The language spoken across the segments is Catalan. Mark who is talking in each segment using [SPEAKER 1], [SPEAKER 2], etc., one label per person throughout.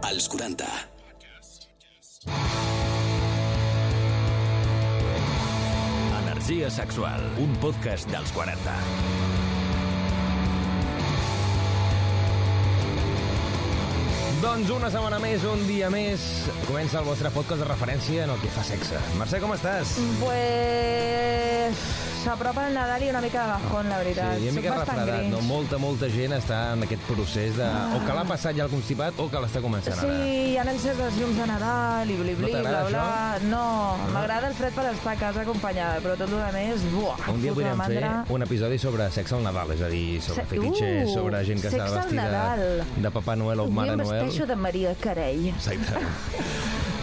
[SPEAKER 1] dels 40.
[SPEAKER 2] Energia sexual, un podcast dels 40.
[SPEAKER 3] Doncs una setmana més, un dia més, comença el vostre podcast de referència en el que fa sexe. Mercè, com estàs?
[SPEAKER 4] Mm. Pues... S'apropa el Nadal i una mica de bajón, la veritat.
[SPEAKER 3] Sí, una mica
[SPEAKER 4] Soc bastant
[SPEAKER 3] refredat,
[SPEAKER 4] grinch. Ah.
[SPEAKER 3] no? Molta, molta gent està en aquest procés de... O que l'ha passat ja el constipat o que l'està començant
[SPEAKER 4] Sí,
[SPEAKER 3] ara.
[SPEAKER 4] hi ha encès dels llums de Nadal i bli, bli,
[SPEAKER 3] No
[SPEAKER 4] bla,
[SPEAKER 3] t'agrada
[SPEAKER 4] bla.
[SPEAKER 3] això? Ah.
[SPEAKER 4] No, m'agrada el fred per estar a casa acompanyada, però tot el que més, buah,
[SPEAKER 3] Un dia
[SPEAKER 4] foto una
[SPEAKER 3] podríem fer
[SPEAKER 4] mandra.
[SPEAKER 3] un episodi sobre sexe al Nadal, és a dir, sobre
[SPEAKER 4] Se-
[SPEAKER 3] fetitxers,
[SPEAKER 4] Uh,
[SPEAKER 3] sobre gent que està
[SPEAKER 4] sexe al
[SPEAKER 3] vestida
[SPEAKER 4] Nadal.
[SPEAKER 3] de Papà Noel o Mare
[SPEAKER 4] Jo em
[SPEAKER 3] Noel.
[SPEAKER 4] vesteixo de Maria Carey.
[SPEAKER 3] Exacte.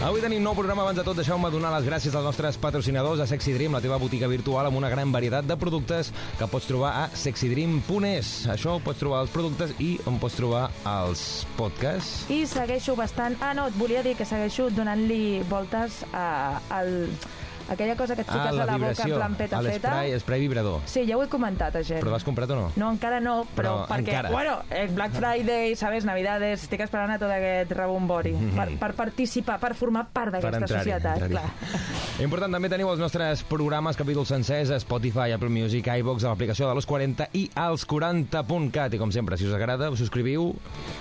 [SPEAKER 3] Avui tenim nou programa. Abans de tot, deixeu-me donar les gràcies als nostres patrocinadors a Sexy Dream, la teva botiga virtual amb una gran varietat de productes que pots trobar a sexydream.es. Això pots trobar els productes i on pots trobar els podcasts.
[SPEAKER 4] I segueixo bastant... Ah, no, et volia dir que segueixo donant-li voltes a, al, a aquella cosa que et
[SPEAKER 3] Ah,
[SPEAKER 4] fiques a la boca en
[SPEAKER 3] vibració,
[SPEAKER 4] plan
[SPEAKER 3] a
[SPEAKER 4] peta feta.
[SPEAKER 3] l'espray spray vibrador.
[SPEAKER 4] Sí, ja ho he comentat a gent.
[SPEAKER 3] Però l'has comprat o no?
[SPEAKER 4] No, encara no, però,
[SPEAKER 3] Però
[SPEAKER 4] perquè,
[SPEAKER 3] encara.
[SPEAKER 4] bueno, el Black Friday, sabes, Navidades, estic esperant a tot aquest rebombori per, per participar, per formar part d'aquesta
[SPEAKER 3] Mhm. entrar-hi,
[SPEAKER 4] societat,
[SPEAKER 3] entrar-hi.
[SPEAKER 4] clar.
[SPEAKER 3] Important, també teniu els nostres programes, capítols sencers, a Spotify, Apple Music, iVox, a l'aplicació de los 40 i als 40.cat. I com sempre, si us agrada, us subscriviu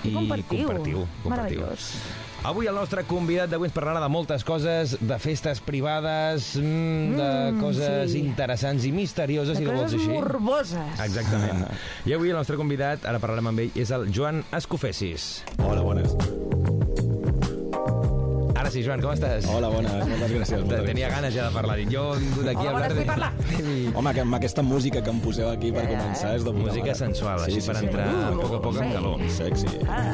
[SPEAKER 3] i,
[SPEAKER 4] compartiu.
[SPEAKER 3] compartiu, compartiu.
[SPEAKER 4] Meravellós.
[SPEAKER 3] Avui el nostre convidat d'avui ens parlarà de moltes coses, de festes privades, mm, de
[SPEAKER 4] Mm,
[SPEAKER 3] coses
[SPEAKER 4] sí.
[SPEAKER 3] interessants i misterioses,
[SPEAKER 4] De
[SPEAKER 3] si ho vols
[SPEAKER 4] coses
[SPEAKER 3] dir així.
[SPEAKER 4] morboses.
[SPEAKER 3] Exactament. I avui el nostre convidat, ara parlarem amb ell, és el Joan Escofessis.
[SPEAKER 5] Hola, bones.
[SPEAKER 3] Ara sí, Joan, com estàs?
[SPEAKER 5] Hola, bones. Moltes gràcies.
[SPEAKER 3] Te-
[SPEAKER 5] Moltes
[SPEAKER 3] Tenia ganes ja de parlar. Dic, Jo he vingut aquí
[SPEAKER 4] Hola,
[SPEAKER 3] a hablar...
[SPEAKER 4] bones, vull parlar.
[SPEAKER 3] de...
[SPEAKER 5] Home, que amb aquesta música que em poseu aquí per
[SPEAKER 4] Ja, ja,
[SPEAKER 5] començar
[SPEAKER 4] eh?
[SPEAKER 5] és de puta
[SPEAKER 3] Música
[SPEAKER 5] mare.
[SPEAKER 3] sensual, així per
[SPEAKER 4] Uh,
[SPEAKER 3] entrar a poc a poc en
[SPEAKER 4] sí.
[SPEAKER 3] calor.
[SPEAKER 5] Sexy.
[SPEAKER 4] Ah.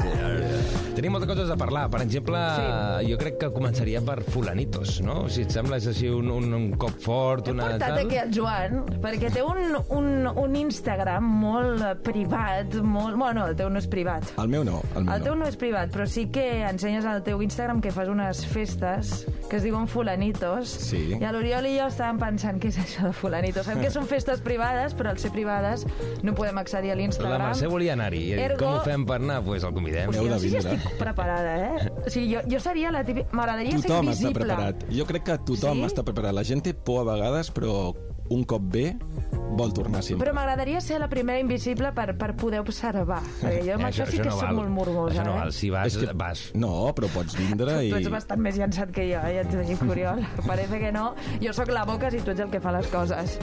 [SPEAKER 3] Tenim moltes coses a parlar. Per exemple,
[SPEAKER 4] Sí.
[SPEAKER 3] jo crec que començaria per Fulanitos, no? Si et sembla, és així un, un, un cop fort,
[SPEAKER 4] T'he
[SPEAKER 3] una...
[SPEAKER 4] portat
[SPEAKER 3] tal.
[SPEAKER 4] aquí el Joan, perquè té un, un, un Instagram molt eh, privat, molt... Bueno, el teu no és privat.
[SPEAKER 5] El meu no, el meu
[SPEAKER 4] El teu
[SPEAKER 5] no.
[SPEAKER 4] no és privat, però sí que ensenyes al teu Instagram que fas unes festes que es diuen fulanitos.
[SPEAKER 5] Sí.
[SPEAKER 4] I a l'Oriol i jo estàvem pensant què és això de fulanitos. Sabem que són festes privades, però al ser privades no podem accedir a
[SPEAKER 3] La
[SPEAKER 4] l'Instagram.
[SPEAKER 3] Mercè volia anar-hi. i ha dit,
[SPEAKER 4] Ergo-
[SPEAKER 3] Com ho fem per anar? Doncs pues el convidem.
[SPEAKER 5] Heu
[SPEAKER 4] Jo
[SPEAKER 5] de
[SPEAKER 4] no sé si
[SPEAKER 5] vindre.
[SPEAKER 4] estic preparada, eh? O sigui, jo, jo seria la típica... M'agradaria ser
[SPEAKER 5] Tothom està
[SPEAKER 4] invisible.
[SPEAKER 5] preparat. Jo crec que tothom
[SPEAKER 4] Sí?
[SPEAKER 5] està preparat. La gent té por a vegades, però un cop ve vol tornar sempre.
[SPEAKER 4] Però m'agradaria ser la primera invisible per, per poder observar. Perquè jo amb això, sí que
[SPEAKER 3] Eh, no
[SPEAKER 4] soc
[SPEAKER 3] val.
[SPEAKER 4] molt morbosa,
[SPEAKER 3] Això no
[SPEAKER 4] eh?
[SPEAKER 3] val. Si vas,
[SPEAKER 5] És que-
[SPEAKER 3] vas.
[SPEAKER 5] No, però pots vindre i...
[SPEAKER 4] Tu ets bastant més llançat que jo, eh? ja t'ho dic, Oriol. Parece que no. Jo sóc la boca i tu ets el que fa les coses.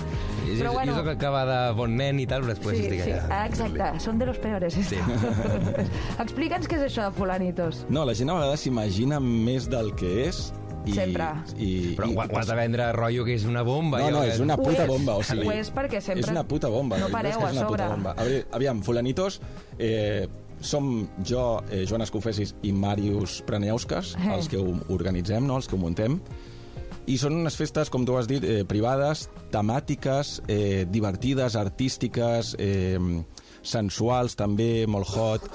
[SPEAKER 3] Jo,
[SPEAKER 4] Però
[SPEAKER 3] jo
[SPEAKER 4] bueno,
[SPEAKER 3] sóc el que va de bon nen i tal, però després
[SPEAKER 4] sí,
[SPEAKER 3] estic
[SPEAKER 4] sí,
[SPEAKER 3] allà.
[SPEAKER 4] ah, exacte, són de los peores. Sí. Explica'ns què és això de fulanitos.
[SPEAKER 5] No, la gent a vegades s'imagina més del que és i...
[SPEAKER 4] Sempre.
[SPEAKER 5] I,
[SPEAKER 3] Però
[SPEAKER 5] i,
[SPEAKER 3] ho, ho has de vendre rotllo que és una bomba.
[SPEAKER 5] No,
[SPEAKER 3] allò
[SPEAKER 5] no,
[SPEAKER 3] que-
[SPEAKER 5] és una
[SPEAKER 4] Ho
[SPEAKER 5] puta
[SPEAKER 4] és,
[SPEAKER 5] bomba. O sigui,
[SPEAKER 4] ho és perquè sempre
[SPEAKER 5] És una puta bomba.
[SPEAKER 4] no
[SPEAKER 5] la veritat
[SPEAKER 4] pareu
[SPEAKER 5] és que és
[SPEAKER 4] a
[SPEAKER 5] una puta
[SPEAKER 4] sobre.
[SPEAKER 5] bomba. A veure, Aviam, fulanitos... Eh, som jo, eh, Joan Escofessis i Màrius Preneusques,
[SPEAKER 4] Eh.
[SPEAKER 5] els que ho organitzem, no? els que ho muntem. I són unes festes, com tu has dit, eh, privades, temàtiques, eh, divertides, artístiques, eh, sensuals, també, molt hot,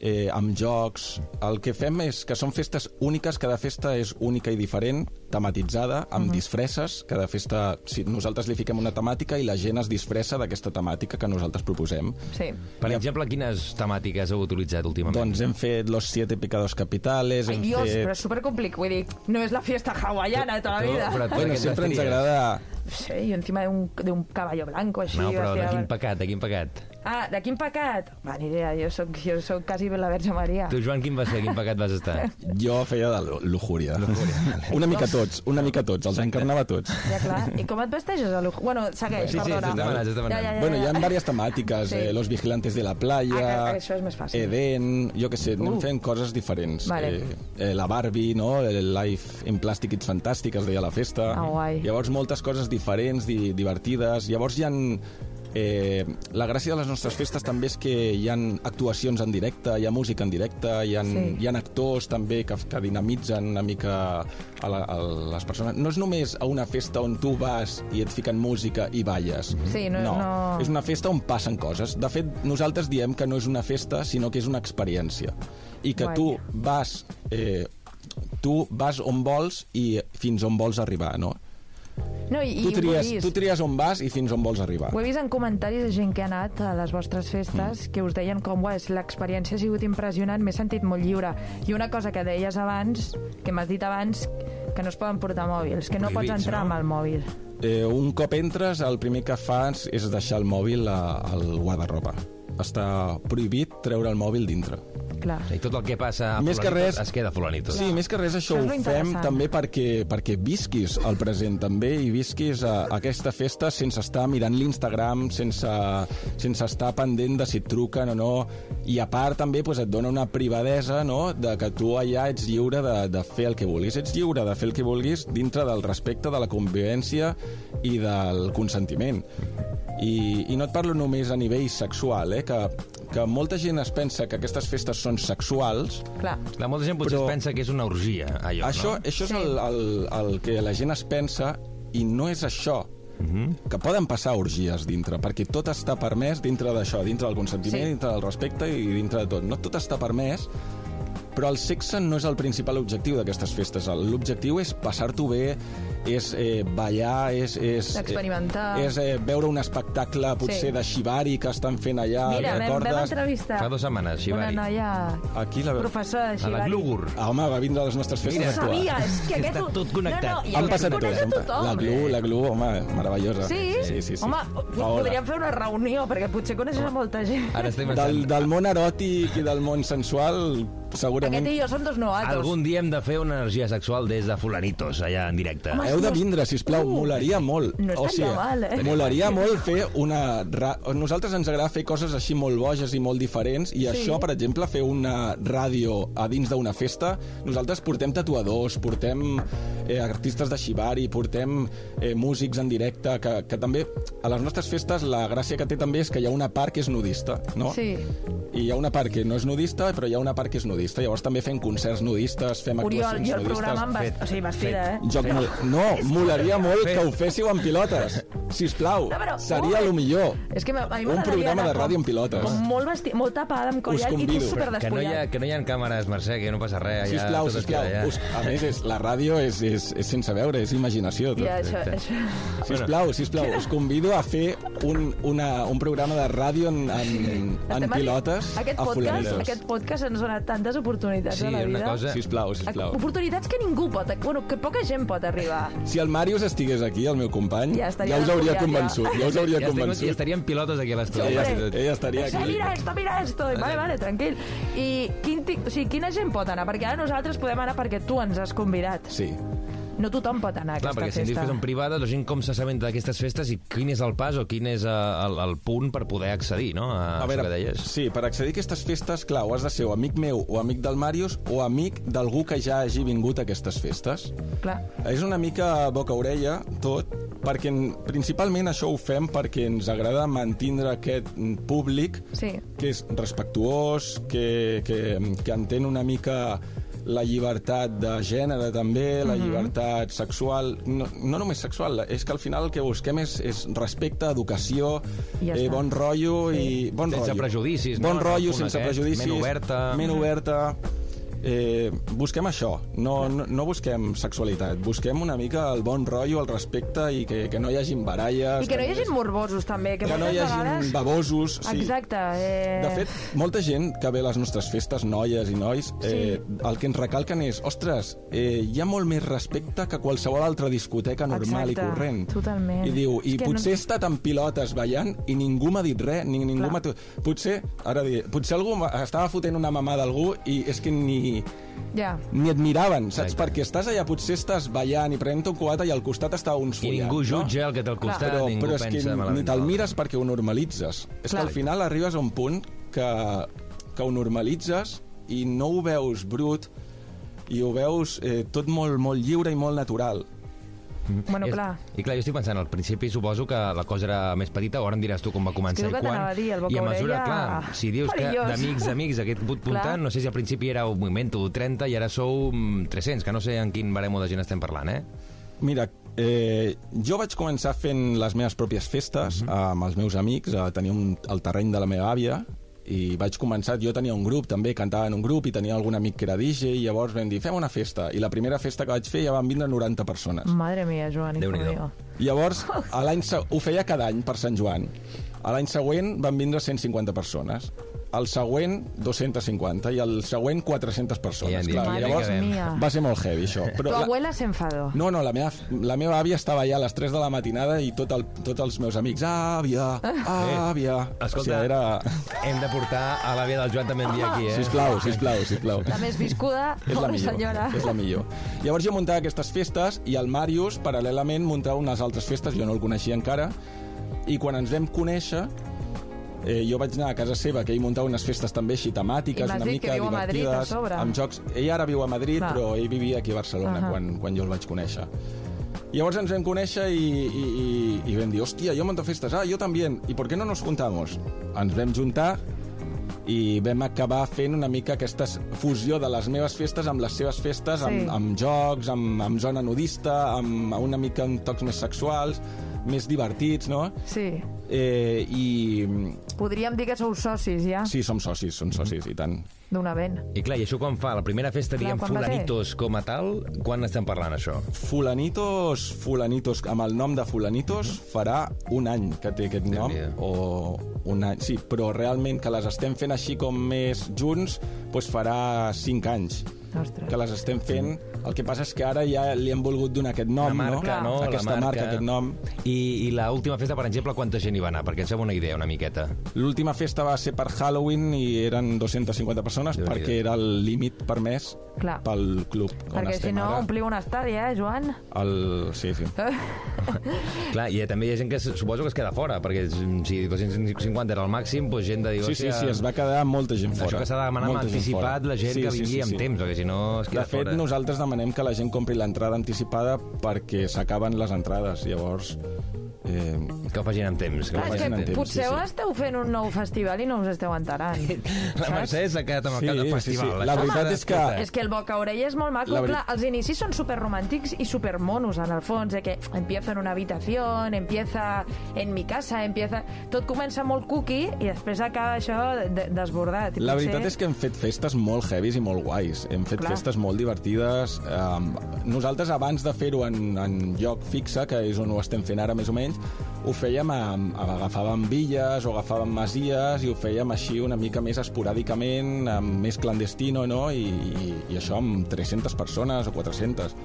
[SPEAKER 5] eh, amb jocs... El que fem és que són festes úniques, cada festa és única i diferent, tematitzada, amb
[SPEAKER 4] Mhm.
[SPEAKER 5] disfresses, cada festa... Si nosaltres li fiquem una temàtica i la gent es disfressa d'aquesta temàtica que nosaltres proposem.
[SPEAKER 4] Sí.
[SPEAKER 3] Per exemple, quines temàtiques heu utilitzat últimament?
[SPEAKER 5] Doncs hem fet Los Siete Pecados Capitales,
[SPEAKER 4] Ai,
[SPEAKER 5] hem
[SPEAKER 4] Dios,
[SPEAKER 5] fet...
[SPEAKER 4] però és supercomplicat. Vull dir, no és la fiesta hawaiana de tota la
[SPEAKER 3] Tu-
[SPEAKER 4] vida.
[SPEAKER 3] però tu
[SPEAKER 5] Bueno,
[SPEAKER 3] aquestes
[SPEAKER 5] sempre ens
[SPEAKER 3] tenies.
[SPEAKER 5] agrada...
[SPEAKER 4] Sí, i encima d'un d'un caballo blanco, així.
[SPEAKER 3] No, però de
[SPEAKER 4] hòstia.
[SPEAKER 3] quin pecat, de quin pecat?
[SPEAKER 4] Ah, de quin pecat? Va, ni idea, jo sóc, jo sóc quasi la Verge Maria.
[SPEAKER 3] Tu, Joan, quin va ser? Quin pecat vas estar?
[SPEAKER 5] Jo feia de lu- luxúria. Una mica tots, una mica tots, els encarnava tots.
[SPEAKER 4] Ja, clar. I com et vesteixes? a lujo? Bueno, segueix,
[SPEAKER 3] Sí, sí,
[SPEAKER 4] perdona.
[SPEAKER 3] estàs demanant, estàs demanant.
[SPEAKER 4] Ja, ja, ja,
[SPEAKER 5] Bueno, hi ha
[SPEAKER 4] ja.
[SPEAKER 5] diverses temàtiques,
[SPEAKER 4] Sí.
[SPEAKER 5] eh, Los Vigilantes de la
[SPEAKER 4] Ah,
[SPEAKER 5] Playa,
[SPEAKER 4] que- això és més fàcil. Uh.
[SPEAKER 5] Eden, jo que sé, anem fent coses diferents.
[SPEAKER 4] Vale.
[SPEAKER 5] Eh, eh, la Barbie, no? El Life in Plastic It's Fantastic, es deia la festa.
[SPEAKER 4] Ah, guai.
[SPEAKER 5] Llavors, moltes coses diferents, di divertides. Llavors, hi ha... Eh, la gràcia de les nostres festes també és que hi han actuacions en directe, hi ha música en directe, hi ha,
[SPEAKER 4] Sí.
[SPEAKER 5] hi ha actors també que, que dinamitzen una mica a, la, a les persones. No és només a una festa on tu vas i et fiquen música i balles.
[SPEAKER 4] Sí, no-
[SPEAKER 5] no.
[SPEAKER 4] no-
[SPEAKER 5] És una festa on passen coses. De fet, nosaltres diem que no és una festa, sinó que és una experiència. I que
[SPEAKER 4] Guai.
[SPEAKER 5] tu vas... Eh, tu vas on vols i fins on vols arribar, no?
[SPEAKER 4] No, i,
[SPEAKER 5] tu,
[SPEAKER 4] i ho, he
[SPEAKER 5] tries,
[SPEAKER 4] vist,
[SPEAKER 5] tu tries on vas i fins on vols arribar.
[SPEAKER 4] ho he vist en comentaris de gent que ha anat a les vostres festes que us deien com, uah, és- l'experiència ha sigut impressionant, m'he sentit molt lliure. I una cosa que deies abans, que m'has dit abans, que no es poden portar mòbils, que no pots
[SPEAKER 3] Prohibits,
[SPEAKER 4] entrar
[SPEAKER 3] no?
[SPEAKER 4] amb el mòbil.
[SPEAKER 5] Eh, un cop entres, el primer que fas és deixar el mòbil a, al guardarropa. Està prohibit treure el mòbil dintre.
[SPEAKER 4] Clar.
[SPEAKER 3] I tot el que passa a
[SPEAKER 5] Més que
[SPEAKER 3] Fulanitos
[SPEAKER 5] res-
[SPEAKER 3] es queda a Fulanitos.
[SPEAKER 5] Sí, més que res això
[SPEAKER 4] Això és
[SPEAKER 5] ho
[SPEAKER 4] lo
[SPEAKER 5] fem
[SPEAKER 4] interessant.
[SPEAKER 5] també perquè, perquè visquis el present també i visquis a, aquesta festa sense estar mirant l'Instagram, sense, sense estar pendent de si et truquen o no. I a part també doncs, et dona una privadesa no? de que tu allà ets lliure de, de fer el que vulguis. Ets lliure de fer el que vulguis dintre del respecte de la convivència i del consentiment. I, I no et parlo només a nivell sexual, eh? que, que molta gent es pensa que aquestes festes són sexuals,
[SPEAKER 4] Clar.
[SPEAKER 3] La molta gent potser
[SPEAKER 5] Però-
[SPEAKER 3] es pensa que és una orgia, allò,
[SPEAKER 5] això,
[SPEAKER 3] no?
[SPEAKER 5] això és el, el, el que la gent es pensa i no és això. Mm -hmm. que poden passar orgies dintre, perquè tot està permès dintre d'això, dintre del consentiment,
[SPEAKER 4] Sí.
[SPEAKER 5] sí. dintre del respecte i dintre de tot. No tot està permès, però el sexe no és el principal objectiu d'aquestes festes. El- L'objectiu és passar-t'ho bé, és eh, ballar, és... és
[SPEAKER 4] Experimentar.
[SPEAKER 5] Eh, és eh, veure un espectacle, potser,
[SPEAKER 4] Sí.
[SPEAKER 5] sí. de shibari que estan fent allà, eh,
[SPEAKER 6] Mira,
[SPEAKER 5] el
[SPEAKER 6] vam, vam
[SPEAKER 5] Ah, recordes?
[SPEAKER 6] entrevistar
[SPEAKER 3] Fa dues setmanes,
[SPEAKER 4] Una
[SPEAKER 3] Xibari.
[SPEAKER 4] noia
[SPEAKER 5] Aquí la...
[SPEAKER 4] professora de
[SPEAKER 3] A la
[SPEAKER 4] Xibari.
[SPEAKER 3] Glúgur.
[SPEAKER 5] Ah, home, va vindre a les nostres festes
[SPEAKER 3] Mira,
[SPEAKER 5] actuals.
[SPEAKER 6] Sabies que aquest...
[SPEAKER 3] Està tot connectat.
[SPEAKER 6] No, no, i
[SPEAKER 5] Han
[SPEAKER 6] aquest
[SPEAKER 5] passat
[SPEAKER 6] ho
[SPEAKER 5] tot. eh?
[SPEAKER 6] coneix tothom.
[SPEAKER 5] La Glu, la Glu, home, meravellosa.
[SPEAKER 4] Sí?
[SPEAKER 5] sí, sí, sí.
[SPEAKER 4] Home,
[SPEAKER 5] Paola.
[SPEAKER 4] podríem fer una reunió, perquè potser coneixes a molta gent.
[SPEAKER 3] Ara estem
[SPEAKER 5] Del,
[SPEAKER 3] pensant...
[SPEAKER 5] del món eròtic i del món sensual, segurament...
[SPEAKER 4] Aquest i jo som dos novatos.
[SPEAKER 3] Algun dia hem de fer una energia sexual des de Fulanitos, allà en directe.
[SPEAKER 4] Home, Uh!
[SPEAKER 5] Heu de vindre, si us plau, molaria molt.
[SPEAKER 4] no estaria mal, eh?
[SPEAKER 5] Molaria molt fer una... ra- A nosaltres ens agrada fer coses així molt boges i molt diferents, i sí. això, per exemple, fer una ràdio a dins d'una festa, nosaltres portem tatuadors, portem eh, artistes de shibari, portem eh, músics en directe, que, que també a les nostres festes la gràcia que té també és que hi ha una part que és nudista, no?
[SPEAKER 4] Sí.
[SPEAKER 5] I hi ha una part que no és nudista, però hi ha una part que és nudista. Llavors també fem concerts nudistes, fem
[SPEAKER 4] Oriol,
[SPEAKER 5] actuacions
[SPEAKER 4] jo el
[SPEAKER 5] nudistes.
[SPEAKER 4] programa em vas...
[SPEAKER 3] Fet,
[SPEAKER 4] O sigui, vestida, eh?
[SPEAKER 5] Joc mol... No, molaria molt
[SPEAKER 3] Fet.
[SPEAKER 5] que ho féssiu amb pilotes. Si us plau,
[SPEAKER 4] No, però-
[SPEAKER 5] seria el millor.
[SPEAKER 4] És que a mi
[SPEAKER 5] Un
[SPEAKER 4] m'agradaria
[SPEAKER 5] programa
[SPEAKER 4] anar
[SPEAKER 5] de ràdio
[SPEAKER 4] com-
[SPEAKER 5] amb pilotes.
[SPEAKER 4] Com molt, vesti... molt tapada amb
[SPEAKER 5] Us
[SPEAKER 4] collar i tu
[SPEAKER 5] convido.
[SPEAKER 4] superdespullat.
[SPEAKER 3] Que no, hi ha, que no hi ha càmeres, Mercè, que no passa res. allà,
[SPEAKER 5] Sisplau,
[SPEAKER 3] tot es
[SPEAKER 5] sisplau.
[SPEAKER 3] queda allà.
[SPEAKER 5] Us... A més, és, la ràdio és, és, és sense veure, és imaginació. Tot.
[SPEAKER 4] Ja, això, això...
[SPEAKER 5] Sisplau, sisplau, us convido a fer un, una, un programa de ràdio en, en, en
[SPEAKER 4] Estem a-
[SPEAKER 5] pilotes
[SPEAKER 4] Aquest
[SPEAKER 5] a
[SPEAKER 4] podcast,
[SPEAKER 5] Fulanitos.
[SPEAKER 4] aquest podcast ens dona tantes oportunitats
[SPEAKER 3] Sí,
[SPEAKER 4] a la
[SPEAKER 3] una
[SPEAKER 4] vida.
[SPEAKER 3] cosa-
[SPEAKER 5] Sisplau, sisplau.
[SPEAKER 4] Oportunitats que ningú pot... Bueno, que poca gent pot arribar.
[SPEAKER 5] Si el Màrius estigués aquí, el meu company,
[SPEAKER 4] Ja
[SPEAKER 5] ja,
[SPEAKER 4] estaria
[SPEAKER 5] ja us hauria
[SPEAKER 4] despullada.
[SPEAKER 5] convençut. Ja us hauria
[SPEAKER 3] Ja, estem, ja
[SPEAKER 5] convençut.
[SPEAKER 3] estaríem pilotes aquí a l'estudi.
[SPEAKER 5] Ella,
[SPEAKER 4] Hombre.
[SPEAKER 5] ella estaria
[SPEAKER 4] Sí,
[SPEAKER 5] aquí.
[SPEAKER 4] mira esto, mira esto. I, Vale, vale, tranquil. I quin ti... o sigui, quina gent pot anar? Perquè ara nosaltres podem anar perquè tu ens has convidat.
[SPEAKER 5] Sí.
[SPEAKER 4] No tothom pot anar a
[SPEAKER 3] Clar,
[SPEAKER 4] aquesta
[SPEAKER 3] perquè si em dius
[SPEAKER 4] festa.
[SPEAKER 3] que són privades, la gent com s'assabenta d'aquestes festes i quin és el pas o quin és eh, el, el punt per poder accedir, no?, a, a veure, Ah, que deies.
[SPEAKER 5] sí, per accedir a aquestes festes, clar, ho has de ser o amic meu o amic del Màrius o amic d'algú que ja hagi vingut a aquestes festes.
[SPEAKER 4] Clar.
[SPEAKER 5] És una mica boca-orella, tot, perquè en- principalment això ho fem perquè ens agrada mantindre aquest mm, públic
[SPEAKER 4] Sí.
[SPEAKER 5] que és respectuós, que, que, que entén una mica la llibertat de gènere també,
[SPEAKER 4] Mhm.
[SPEAKER 5] la llibertat sexual, no, no només sexual, és que al final el que busquem és, és respecte, educació,
[SPEAKER 4] I ja
[SPEAKER 5] eh,
[SPEAKER 4] està.
[SPEAKER 5] bon rotllo i bon
[SPEAKER 3] Sense
[SPEAKER 5] rotllo.
[SPEAKER 3] prejudicis, no?
[SPEAKER 5] Bon
[SPEAKER 3] En el
[SPEAKER 5] rotllo,
[SPEAKER 3] punt
[SPEAKER 5] sense
[SPEAKER 3] aquest,
[SPEAKER 5] prejudicis.
[SPEAKER 3] ment oberta.
[SPEAKER 5] Ment oberta. Eh, busquem això, no, no, no busquem sexualitat, busquem una mica el bon rotllo, el respecte i que, que no hi hagin baralles.
[SPEAKER 4] I que no hi hagi morbosos, també. Que,
[SPEAKER 5] que no hi
[SPEAKER 4] moltes
[SPEAKER 5] hagin
[SPEAKER 4] vegades...
[SPEAKER 5] babosos. Sí.
[SPEAKER 4] Exacte. Eh...
[SPEAKER 5] De fet, molta gent que ve a les nostres festes, noies i nois, eh, el que ens recalquen és, ostres, eh, hi ha molt més respecte que qualsevol altra discoteca normal
[SPEAKER 4] Exacte,
[SPEAKER 5] i corrent.
[SPEAKER 4] totalment.
[SPEAKER 5] I diu,
[SPEAKER 4] És
[SPEAKER 5] i
[SPEAKER 4] que
[SPEAKER 5] potser he
[SPEAKER 4] no-
[SPEAKER 5] estat amb pilotes ballant i ningú m'ha dit res, ni, ningú
[SPEAKER 4] Clar.
[SPEAKER 5] m'ha... to- Potser, ara diré, potser algú m'ha- estava fotent una mamà d'algú i és que ni,
[SPEAKER 4] Ja.
[SPEAKER 5] ni et miraven, saps?
[SPEAKER 3] Exacte.
[SPEAKER 5] Perquè estàs allà, potser estàs ballant i prenent un cubata i al costat està uns
[SPEAKER 3] I
[SPEAKER 5] follant,
[SPEAKER 3] ningú
[SPEAKER 5] no?
[SPEAKER 3] jutja el que té al costat,
[SPEAKER 5] però,
[SPEAKER 3] ningú
[SPEAKER 5] però és
[SPEAKER 3] pensa
[SPEAKER 5] que ni
[SPEAKER 3] malament.
[SPEAKER 5] te'l mires perquè ho normalitzes. És
[SPEAKER 4] Clar.
[SPEAKER 5] que al final arribes a un punt que, que ho normalitzes i no ho veus brut i ho veus eh, tot molt, molt lliure i molt natural.
[SPEAKER 4] Bueno,
[SPEAKER 3] És-
[SPEAKER 4] clar.
[SPEAKER 3] I clar, jo estic pensant, al principi suposo que la cosa era més petita, ara em diràs tu com va començar
[SPEAKER 4] És que és
[SPEAKER 3] i
[SPEAKER 4] el que
[SPEAKER 3] quan.
[SPEAKER 4] t'anava a dir, el boca
[SPEAKER 3] I a mesura,
[SPEAKER 4] orella,
[SPEAKER 3] clar, si dius
[SPEAKER 4] perillós.
[SPEAKER 3] que d'amics a amics aquest put
[SPEAKER 4] Clar.
[SPEAKER 3] puntant, no sé si al principi era un moment 30 i ara sou mm, 300, que no sé en quin baremo de gent estem parlant, eh?
[SPEAKER 5] Mira, eh, jo vaig començar
[SPEAKER 3] Mhm.
[SPEAKER 5] fent les meves pròpies festes mm -hmm. amb els meus amics, eh, tenia un, el terreny de la meva àvia, i vaig començar, jo tenia un grup també, cantava en un grup i tenia algun amic que era DJ i llavors vam dir, fem una festa. I la primera festa que vaig fer ja van vindre 90 persones.
[SPEAKER 4] Madre mia, Joan, hijo
[SPEAKER 3] Déu-n'hi-do.
[SPEAKER 4] mío.
[SPEAKER 5] Llavors, a l'any se- ho feia cada any per Sant Joan. A l'any següent van vindre 150 persones. El següent, 250. I el següent, 400
[SPEAKER 3] I ja
[SPEAKER 5] persones.
[SPEAKER 3] en
[SPEAKER 5] Clar,
[SPEAKER 3] diem,
[SPEAKER 5] llavors,
[SPEAKER 3] ja
[SPEAKER 4] mía.
[SPEAKER 5] va ser molt heavy, això. Però
[SPEAKER 4] Tu
[SPEAKER 5] la-
[SPEAKER 4] abuela se enfadó.
[SPEAKER 5] no, no, la meva, la meva àvia estava allà a les 3 de la matinada i tot el, tots els meus amics, àvia,
[SPEAKER 4] Ah.
[SPEAKER 5] àvia...
[SPEAKER 3] Escolta.
[SPEAKER 5] O sigui, era...
[SPEAKER 3] Hem de portar a l'àvia del Joan també un dia aquí, eh?
[SPEAKER 5] Sisplau, sisplau, sisplau.
[SPEAKER 4] La més viscuda,
[SPEAKER 5] És la
[SPEAKER 4] pobre
[SPEAKER 5] millor,
[SPEAKER 4] Oh, senyora.
[SPEAKER 5] és la millor. Llavors jo muntava aquestes festes i el Màrius, paral·lelament, muntava unes altres festes, jo no el coneixia encara, i quan ens vam conèixer, eh, jo vaig anar a casa seva, que ell muntava unes festes també així temàtiques,
[SPEAKER 4] I m'has
[SPEAKER 5] una
[SPEAKER 4] dit
[SPEAKER 5] mica
[SPEAKER 4] que viu a Madrid, a
[SPEAKER 5] divertides,
[SPEAKER 4] sobre.
[SPEAKER 5] amb jocs... Ell ara viu a Madrid,
[SPEAKER 4] Clar.
[SPEAKER 5] però ell vivia aquí a Barcelona
[SPEAKER 4] Ahà.
[SPEAKER 5] quan, quan jo el vaig conèixer. Llavors ens vam conèixer i, i, i, i vam dir, hòstia, jo monto festes, ah, jo també, i per què no nos juntamos? Ens vam juntar i vam acabar fent una mica aquesta fusió de les meves festes amb les seves festes,
[SPEAKER 4] Sí.
[SPEAKER 5] amb, amb jocs, amb, amb zona nudista, amb una mica amb tocs més sexuals, més divertits, no?
[SPEAKER 4] Sí.
[SPEAKER 5] Eh, I
[SPEAKER 4] Podríem dir que sou socis, ja,
[SPEAKER 5] sí, som socis, som socis, i tant.
[SPEAKER 4] d'un event.
[SPEAKER 3] I clar, i això quan fa? La primera festa
[SPEAKER 4] Clar,
[SPEAKER 3] diem
[SPEAKER 4] quan va ser?
[SPEAKER 3] fulanitos com a tal, quan estem parlant, això?
[SPEAKER 5] Fulanitos, Fulanitos, amb el nom de Fulanitos, farà un any que té aquest nom,
[SPEAKER 3] Déu-n'hi-do.
[SPEAKER 5] o un any, sí, però realment que les estem fent així com més junts, doncs farà cinc anys
[SPEAKER 4] Ostres.
[SPEAKER 5] que les estem fent. El que passa és que ara ja li hem volgut donar aquest nom,
[SPEAKER 3] Una marca, no?
[SPEAKER 5] no?
[SPEAKER 3] La
[SPEAKER 5] Aquesta marca. aquest nom.
[SPEAKER 3] I, i l'última festa, per exemple, quanta gent hi va anar? Perquè ens fem una idea, una miqueta.
[SPEAKER 5] L'última festa va ser per Halloween i eren 250 persones
[SPEAKER 3] Déu-n'hi-do.
[SPEAKER 5] perquè era el límit permès
[SPEAKER 4] Clar.
[SPEAKER 5] pel club on
[SPEAKER 4] Perquè si
[SPEAKER 5] estem
[SPEAKER 4] no,
[SPEAKER 5] ara.
[SPEAKER 4] ompliu un estadi, eh, Joan?
[SPEAKER 5] El... Sí, sí.
[SPEAKER 3] Ah. Clar, i eh, també hi ha gent que s- suposo que es queda fora, perquè mm, si 250 era el màxim, doncs gent de dir...
[SPEAKER 5] Sí, sí,
[SPEAKER 3] "Hòstia,
[SPEAKER 5] sí, es va quedar molta gent fora.
[SPEAKER 3] Això que s'ha de demanar amb
[SPEAKER 5] Molta gent
[SPEAKER 3] anticipat
[SPEAKER 5] fora.
[SPEAKER 3] la gent
[SPEAKER 5] Sí,
[SPEAKER 3] que
[SPEAKER 5] sí,
[SPEAKER 3] vingui
[SPEAKER 5] sí, sí.
[SPEAKER 3] amb temps, perquè si no es
[SPEAKER 5] De
[SPEAKER 3] queda
[SPEAKER 5] fet,
[SPEAKER 3] fora.
[SPEAKER 5] nosaltres demanem que la gent compri l'entrada anticipada perquè s'acaben les entrades. Llavors, eh,
[SPEAKER 3] Que ho facin amb temps. Que
[SPEAKER 4] Clar,
[SPEAKER 3] ho
[SPEAKER 4] és
[SPEAKER 5] vagin
[SPEAKER 3] facin
[SPEAKER 4] que
[SPEAKER 5] en temps,
[SPEAKER 3] amb temps.
[SPEAKER 4] potser
[SPEAKER 5] sí, sí.
[SPEAKER 4] esteu fent un nou festival i no us esteu enterant.
[SPEAKER 3] La Mercè s'ha quedat amb el cap de festival.
[SPEAKER 5] La
[SPEAKER 3] Això
[SPEAKER 5] veritat
[SPEAKER 3] m'ha
[SPEAKER 5] és que...
[SPEAKER 4] És que el boca orella és molt maco.
[SPEAKER 5] La veri-
[SPEAKER 4] Clar, els inicis són superromàntics i supermonos, en el fons, de que empieza en una habitació, empieza en mi casa, empieza... Tot comença molt cookie i després acaba això de- desbordat. I
[SPEAKER 5] La
[SPEAKER 4] potser-
[SPEAKER 5] veritat és que hem fet festes molt heavies i molt guais. Hem fet
[SPEAKER 4] Clar.
[SPEAKER 5] Clar. festes molt divertides. Um, nosaltres, abans de fer-ho en, en lloc fixe, que és on ho estem fent ara més o menys, ho fèiem, a, a, agafàvem villes o agafàvem masies i ho fèiem així una mica més esporàdicament, amb més clandestino, no? I, i, i això amb 300 persones o 400.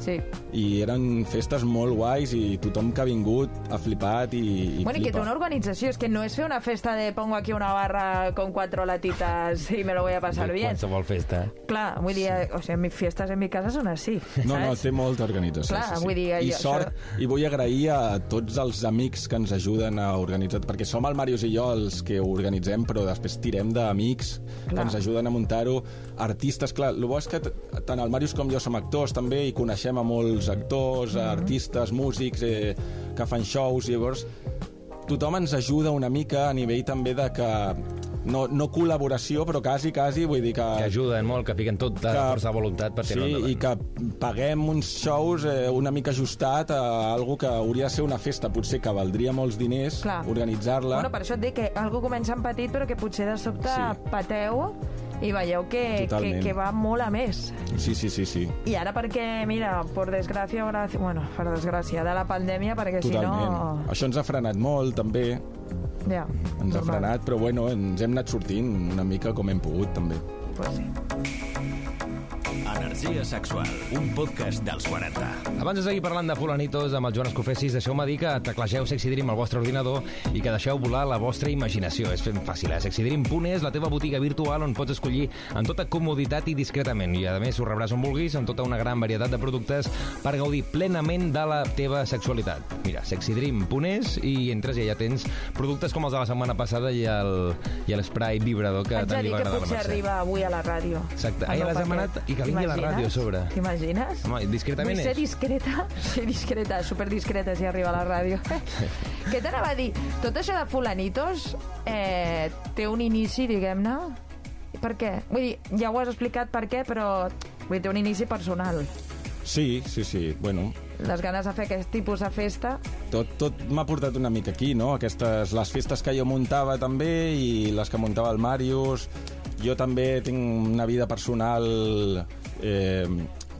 [SPEAKER 4] Sí.
[SPEAKER 5] I eren festes molt guais i tothom que ha vingut ha flipat i, i
[SPEAKER 4] Bueno, i que té
[SPEAKER 5] flipa.
[SPEAKER 4] una organització, és que no és fer una festa de pongo aquí una barra con cuatro latitas y me lo voy a pasar bien.
[SPEAKER 3] Qualsevol festa. eh?
[SPEAKER 4] Clar, vull dir, sí. o sigui, mis fiestes en mi casa són així,
[SPEAKER 5] No, no,
[SPEAKER 4] saps?
[SPEAKER 5] té molta organització.
[SPEAKER 4] Clar, vull dir,
[SPEAKER 5] I
[SPEAKER 4] jo-
[SPEAKER 5] sort, i vull agrair a tots els amics que ens ajuden a organitzar, perquè som el Màrius i jo els que ho organitzem, però després tirem d'amics que
[SPEAKER 4] Clar.
[SPEAKER 5] ens ajuden a muntar-ho, artistes, clar, el bo és que t- tant el Màrius com jo som actors també i coneixem a molts actors, mm
[SPEAKER 4] Mm-hmm.
[SPEAKER 5] -hmm. artistes, músics eh, que fan shows, i llavors tothom ens ajuda una mica a nivell també de que no, no col·laboració, però quasi, quasi, vull dir
[SPEAKER 3] Que ajuden molt, que fiquen tota la
[SPEAKER 5] Que-
[SPEAKER 3] força de voluntat per
[SPEAKER 5] Sí,
[SPEAKER 3] tirar endavant.
[SPEAKER 5] i que paguem uns shows eh, una mica ajustat a algo que hauria de ser una festa, potser que valdria molts diners
[SPEAKER 4] Clar.
[SPEAKER 5] organitzar-la.
[SPEAKER 4] Bueno, per això et dic que algú comença en petit, però que potser de sobte
[SPEAKER 5] Sí.
[SPEAKER 4] sí. pateu i veieu que, que,
[SPEAKER 5] Totalment.
[SPEAKER 4] que va molt a més.
[SPEAKER 5] Sí, sí, sí, sí.
[SPEAKER 4] I ara perquè, mira, per desgràcia, graci... bueno, per desgràcia, de la pandèmia, perquè
[SPEAKER 5] Totalment.
[SPEAKER 4] si no...
[SPEAKER 5] Això ens ha frenat molt, també.
[SPEAKER 4] Ja,
[SPEAKER 5] Ens ha frenat, però bueno, ens hem anat sortint una mica com hem pogut, també.
[SPEAKER 4] Pues sí.
[SPEAKER 7] Energia sexual, un podcast dels 40.
[SPEAKER 3] Abans de seguir parlant de fulanitos amb el Joan Escofessis, deixeu-me dir que teclegeu Sexy Dream al vostre ordinador i que deixeu volar la vostra imaginació. És ben fàcil, eh? sexydream.es, la teva botiga virtual on pots escollir amb tota comoditat i discretament. I, a més, ho rebràs on vulguis, amb tota una gran varietat de productes per gaudir plenament de la teva sexualitat. Mira, sexydream.es i entres i allà tens productes com els de la setmana passada i el- i l'espray vibrador que
[SPEAKER 4] Haig de
[SPEAKER 3] tant li
[SPEAKER 4] dir
[SPEAKER 3] va
[SPEAKER 4] que
[SPEAKER 3] agradar a la
[SPEAKER 4] potser
[SPEAKER 3] Mercè.
[SPEAKER 4] arriba avui a la ràdio.
[SPEAKER 3] Exacte.
[SPEAKER 4] El
[SPEAKER 3] Ah, ja
[SPEAKER 4] meu
[SPEAKER 3] l'has
[SPEAKER 4] paquet.
[SPEAKER 3] demanat i que vingui a la
[SPEAKER 4] T'imagines?
[SPEAKER 3] ràdio a sobre.
[SPEAKER 4] T'imagines?
[SPEAKER 3] Home, discretament
[SPEAKER 4] Vull ser
[SPEAKER 3] és.
[SPEAKER 4] discreta, ser discreta, superdiscreta si arriba a la ràdio. Què t'anava a dir? Tot això de fulanitos eh, té un inici, diguem-ne, per què? Vull dir, ja ho has explicat per què, però vull dir, té un inici personal.
[SPEAKER 5] Sí, sí, sí. Bueno,
[SPEAKER 4] les ganes de fer aquest tipus de festa.
[SPEAKER 5] Tot, tot m'ha portat una mica aquí, no? Aquestes, les festes que jo muntava també i les que muntava el Màrius. Jo també tinc una vida personal... Eh,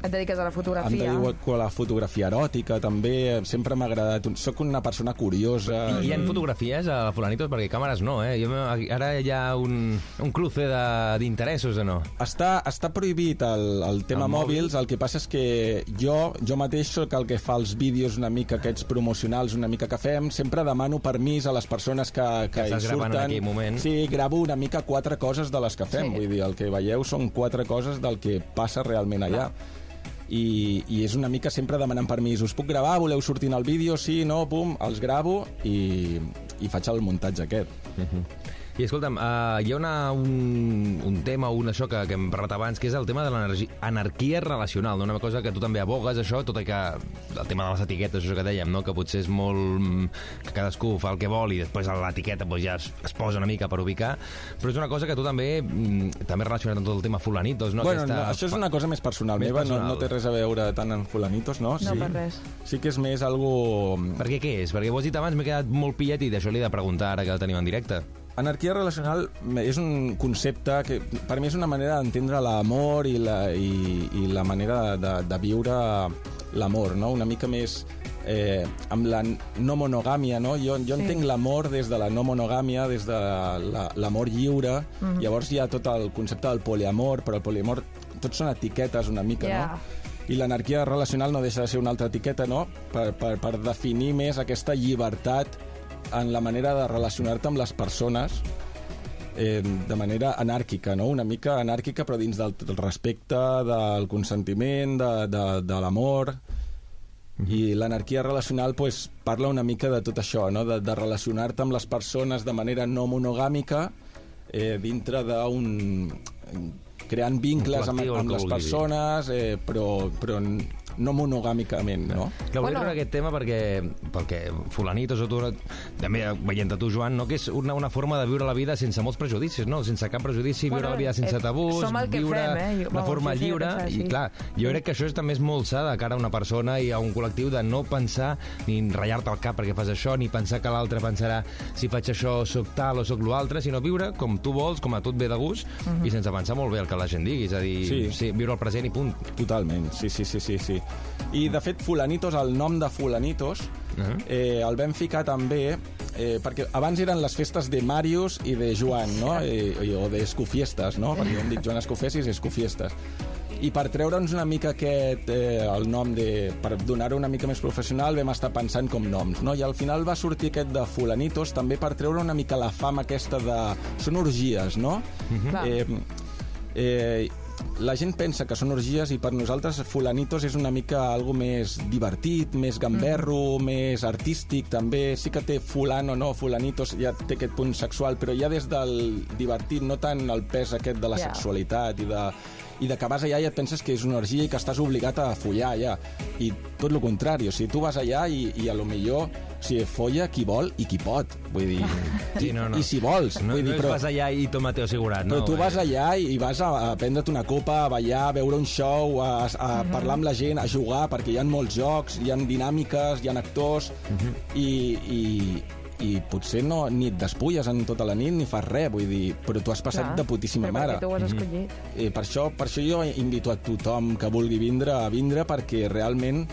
[SPEAKER 4] Et dediques a la
[SPEAKER 5] em
[SPEAKER 4] fotografia.
[SPEAKER 5] dedico a la fotografia eròtica, també. Sempre m'ha agradat. Soc una persona curiosa.
[SPEAKER 3] I hi ha fotografies a Fulanitos? Perquè càmeres no, eh? Jo, me- ara hi ha un, un cruce de- d'interessos o no?
[SPEAKER 5] Està, està prohibit el, el tema
[SPEAKER 3] El
[SPEAKER 5] el
[SPEAKER 3] mòbil.
[SPEAKER 5] mòbils, el que passa és que jo, jo mateix sóc el que fa els vídeos una mica aquests promocionals, una mica que fem, sempre demano permís a les persones que, que,
[SPEAKER 3] Que
[SPEAKER 5] hi
[SPEAKER 3] estàs gravant
[SPEAKER 5] surten.
[SPEAKER 3] en aquell moment.
[SPEAKER 5] Sí, gravo una mica quatre coses de les que fem,
[SPEAKER 4] Sí.
[SPEAKER 5] vull dir, el que veieu són quatre coses del que passa realment allà. I, i és una mica sempre demanant permís. Us puc gravar? Voleu sortir en el vídeo? Sí, no, pum, els gravo i, i faig el muntatge aquest.
[SPEAKER 3] I escolta'm, uh, hi ha una, un, un tema, un això que, que hem parlat abans, que és el tema de l'anarquia relacional, no? una cosa que tu també abogues, això, tot i que el tema de les etiquetes, això que dèiem, no? que potser és molt... mm, que cadascú fa el que vol i després a l'etiqueta doncs, ja es, es posa una mica per ubicar, però és una cosa que tu també mm, també relacionat amb tot el tema fulanitos, no?
[SPEAKER 5] bueno, no, això és una cosa més personal
[SPEAKER 3] Més
[SPEAKER 5] meva,
[SPEAKER 3] personal.
[SPEAKER 5] No, no té res a veure tant en fulanitos, no?
[SPEAKER 6] No, per res.
[SPEAKER 5] Sí que és més algo...
[SPEAKER 3] Perquè què és? Perquè ho has dit abans, m'he quedat molt pillet i d'això li he de preguntar ara que el tenim en directe.
[SPEAKER 5] Anarquia relacional és un concepte que per mi és una manera d'entendre l'amor i, la, i, i la manera de, de viure l'amor, no? Una mica més eh, amb la no monogàmia, no? Jo, jo sí. entenc l'amor des de la no monogàmia, des de la- l'amor la, lliure, mm -hmm. llavors hi ha tot el concepte del poliamor, però el poliamor tot són etiquetes una mica,
[SPEAKER 4] Ja.
[SPEAKER 5] no? I l'anarquia relacional no deixa de ser una altra etiqueta, no? Per, per, per definir més aquesta llibertat en la manera de relacionar-te amb les persones eh, de manera anàrquica, no? Una mica anàrquica, però dins del, del respecte, del consentiment, de, de, de l'amor... I l'anarquia relacional pues, parla una mica de tot això, no? de, de relacionar-te amb les persones de manera no monogàmica eh, dintre d'un... creant vincles amb,
[SPEAKER 3] col·lectiu, el
[SPEAKER 5] amb
[SPEAKER 3] que
[SPEAKER 5] les
[SPEAKER 3] vulguis dir.
[SPEAKER 5] persones, eh, però, però no monogàmicament, no?
[SPEAKER 3] Que volia
[SPEAKER 4] Bueno.
[SPEAKER 3] treure aquest tema perquè, perquè fulanitos o tu, també veient a tu, Joan, no? que és una, una forma de viure la vida sense molts prejudicis, no? sense cap prejudici, viure
[SPEAKER 4] Bueno,
[SPEAKER 3] la vida sense
[SPEAKER 4] eh,
[SPEAKER 3] tabús,
[SPEAKER 4] som el que
[SPEAKER 3] viure
[SPEAKER 4] fem, eh? Jo-
[SPEAKER 3] de
[SPEAKER 4] vamos,
[SPEAKER 3] forma
[SPEAKER 4] sí, sí,
[SPEAKER 3] lliure,
[SPEAKER 4] pensar així.
[SPEAKER 3] i clar, jo crec que això és, també és molt sa de cara a una persona i a un col·lectiu de no pensar ni ratllar-te el cap perquè fas això, ni pensar que l'altre pensarà si faig això sóc tal o sóc l'altre, sinó viure com tu vols, com a tu et ve de gust,
[SPEAKER 4] Mhm.
[SPEAKER 3] i sense pensar molt bé el que la gent digui, és a dir, sí.
[SPEAKER 5] Sí.
[SPEAKER 3] Sí, viure el present i punt.
[SPEAKER 5] Totalment, sí, sí, sí, sí, sí. I, de fet, Fulanitos, el nom de Fulanitos, uh -huh. eh, el vam ficar també eh, perquè abans eren les festes de Màrius i de Joan, no? Eh, i- o d'Escofiestes, no? Perquè jo em dic Joan Escofés i és Escofiestes. I per treure'ns una mica aquest, eh, el nom de... per donar-ho una mica més professional, vam estar pensant com noms, no? I al final va sortir aquest de Fulanitos, també per treure una mica la fama aquesta de... són orgies, no? Uh
[SPEAKER 4] Clar.
[SPEAKER 5] eh, la gent pensa que són orgies i per nosaltres Fulanitos és una mica algo més divertit, més gamberro, més artístic també. Sí que té Fulano, no, Fulanitos ja té aquest punt sexual, però ja des del divertit, no tant el pes aquest de la
[SPEAKER 4] Ja.
[SPEAKER 5] sexualitat i de i de que vas allà i et penses que és una orgia i que estàs obligat a follar allà. I tot el contrari, o sigui, tu vas allà i, i a lo millor o sigui, folla qui vol i qui pot. Vull dir,
[SPEAKER 3] Sí, no, no.
[SPEAKER 5] i si vols.
[SPEAKER 3] No,
[SPEAKER 5] vull
[SPEAKER 3] no
[SPEAKER 5] dir,
[SPEAKER 3] és vas allà i Tomateo Segurat, no?
[SPEAKER 5] però tu
[SPEAKER 3] eh?
[SPEAKER 5] vas allà i i vas a, a prendre't una copa, a ballar, a veure un show, a, a
[SPEAKER 4] Mhm.
[SPEAKER 5] parlar amb la gent, a jugar, perquè hi ha molts jocs, hi ha dinàmiques, hi ha actors,
[SPEAKER 4] Mhm.
[SPEAKER 5] i, i, i potser no, ni et despulles en tota la nit ni fas res, vull dir, però tu has passat
[SPEAKER 4] Clar,
[SPEAKER 5] de putíssima
[SPEAKER 4] però
[SPEAKER 5] mare.
[SPEAKER 4] Perquè tu ho
[SPEAKER 3] Mhm.
[SPEAKER 4] has escollit.
[SPEAKER 5] Eh, per, això, per això jo invito a tothom que vulgui vindre a vindre perquè realment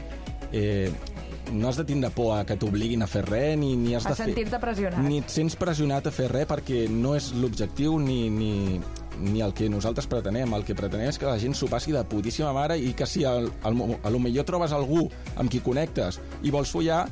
[SPEAKER 5] eh, no has de tindre por a que t'obliguin a fer res ni, ni has
[SPEAKER 4] A
[SPEAKER 5] de fer...
[SPEAKER 4] sentir-te pressionat.
[SPEAKER 5] Ni et sents pressionat a fer res perquè no és l'objectiu ni, ni, ni el que nosaltres pretenem. El que pretenem és que la gent s'ho passi de putíssima mare i que si al, al, mo- a lo millor trobes algú amb qui connectes i vols follar,